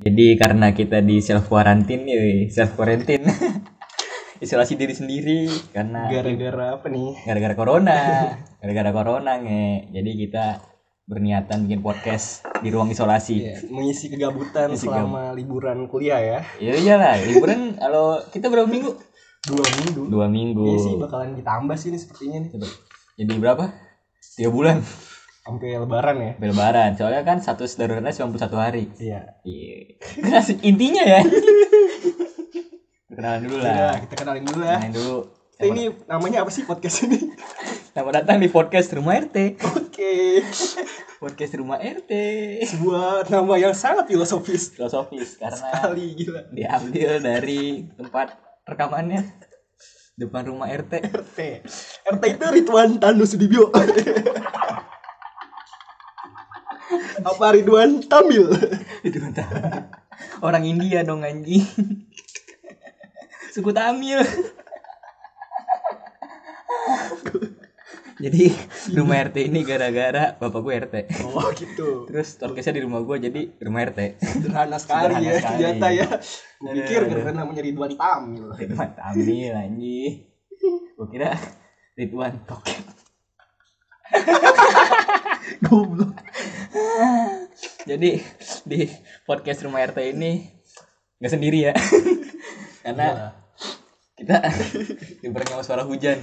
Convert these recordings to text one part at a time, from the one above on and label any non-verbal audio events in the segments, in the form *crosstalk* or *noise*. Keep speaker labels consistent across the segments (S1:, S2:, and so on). S1: Jadi karena kita di self quarantine nih, self quarantine. *laughs* Isolasi diri sendiri karena
S2: gara-gara apa nih
S1: gara-gara corona, gara-gara corona nge. Jadi kita berniatan bikin podcast di ruang isolasi.
S2: Iya, mengisi kegabutan
S1: Mengisi
S2: selama liburan kuliah ya
S1: Iya iyalah, liburan kalau kita berapa minggu?
S2: dua minggu
S1: Dua
S2: Iya sih
S1: minggu.
S2: bakalan ditambah sih ini sepertinya nih
S1: Jadi berapa? Tiga bulan
S2: sampai lebaran ya
S1: Sampai lebaran. Soalnya kan status daruratnya 91 hari.
S2: iya
S1: Iya. *laughs* Kasih intinya
S2: *laughs*
S1: ya. Kenalan dulu
S2: Yaudah,
S1: lah.
S2: kita kenalin dulu ya
S1: Kenalan dulu.
S2: Kita Iya. ini namanya apa sih podcast ini *laughs*
S1: Selamat datang di podcast Rumah RT.
S2: oke
S1: Podcast Rumah RT.
S2: sebuah nama yang sangat filosofis
S1: Filosofis karena
S2: sekali gila
S1: diambil dari tempat rekamannya depan rumah RT.
S2: RT RT itu Ridwan Tanu Sudibyo *laughs* apa Ridwan Tamil
S1: Itu mantap. Orang India dong anjing. Suku Tamil. Jadi rumah RT ini gara-gara bapak gue RT.
S2: oh gitu
S1: Terus podcastnya di rumah gue jadi rumah RT.
S2: sederhana sekali
S1: Sederhana
S2: ya
S1: sekali. Iya,
S2: ternyata ya gue
S1: Aduh,
S2: pikir
S1: aduh.
S2: karena namanya Ridwan Tamil
S1: Ridwan Tamil anjing. Gue kira Ridwan Toket.
S2: *laughs* goblok
S1: Jadi di podcast rumah RT ini nggak sendiri ya. *laughs*
S2: Iya.
S1: Karena kita diberangkat sama suara hujan.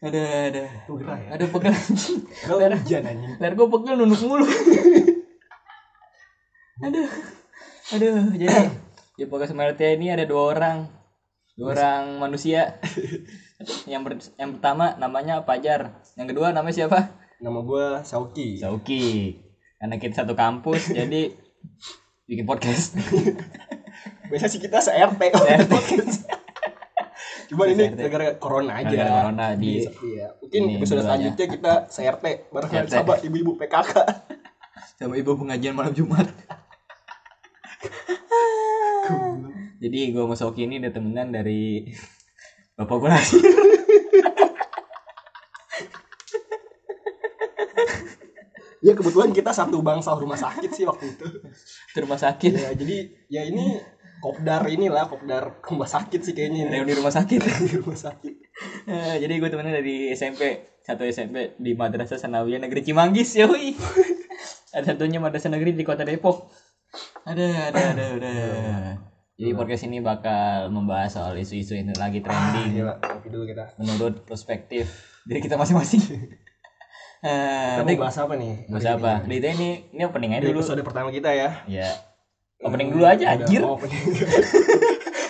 S1: ada ada
S2: tuh gerah ya
S1: ada pegel anjing.
S2: kalau
S1: Ler,
S2: hujan anjing
S1: ler gue pegel nunduk mulu. aduh aduh jadi di podcast rumah RT ini ada dua orang dua orang manusia yang ber- yang pertama namanya Pajar yang kedua namanya siapa
S2: nama gue Sauki
S1: Zauki karena kita satu kampus jadi bikin podcast
S2: biasa sih kita se RT
S1: *laughs* RT.
S2: cuman ini
S1: Se-RT.
S2: gara-gara corona aja
S1: Gara-gara corona di-
S2: iya. mungkin
S1: ini
S2: episode
S1: dulunya.
S2: selanjutnya kita se RT bareng
S1: Se-RT.
S2: sama ibu-ibu PKK
S1: sama ibu pengajian malam Jumat jadi gue sama Zauki ini udah temenan dari bapak gue lagi
S2: ya kebetulan kita satu bangsal rumah sakit sih waktu itu
S1: ke rumah sakit
S2: ya jadi ya ini kopdar inilah kopdar rumah sakit sih kayaknya ini
S1: reuni rumah sakit *laughs*
S2: di rumah sakit
S1: Eh, jadi gue temenan dari SMP satu SMP di Madrasah Sanawiyah Negeri Cimanggis yoi *laughs* ada satunya Madrasah Negeri di Kota Depok ada ada ada ada jadi podcast ini bakal membahas soal isu-isu yang lagi trending
S2: gila kopi Iya, dulu kita
S1: menurut perspektif dari kita masing-masing. *laughs* Eh,
S2: kita
S1: Dik,
S2: mau bahas apa nih
S1: bahas apa? Dari tadi ini ini opening aja
S2: Ini
S1: dulu.
S2: episode pertama kita ya
S1: Ya. Opening dulu aja
S2: Udah,
S1: anjir.
S2: oh, opening. *laughs*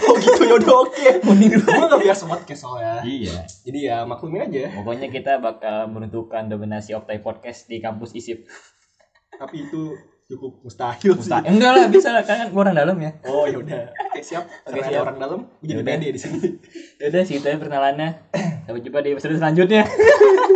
S2: oh gitu ya udah oke
S1: Opening dulu.
S2: gue gak biasa podcast soalnya
S1: Iya.
S2: jadi ya maklumin aja
S1: Pokoknya kita bakal menentukan dominasi Optai Podcast di kampus ISIP.
S2: tapi itu cukup mustahil sih
S1: Mustahil. Enggak lah, bisa lah kan gua orang dalam ya.
S2: oh ya udah oke siap
S1: Oke,
S2: karena
S1: siap. Ya
S2: ada orang dalam gue jadi
S1: Yaudah.
S2: pede di sini
S1: Yaudah segitu aja perkenalannya. Sampai jumpa di episode selanjutnya.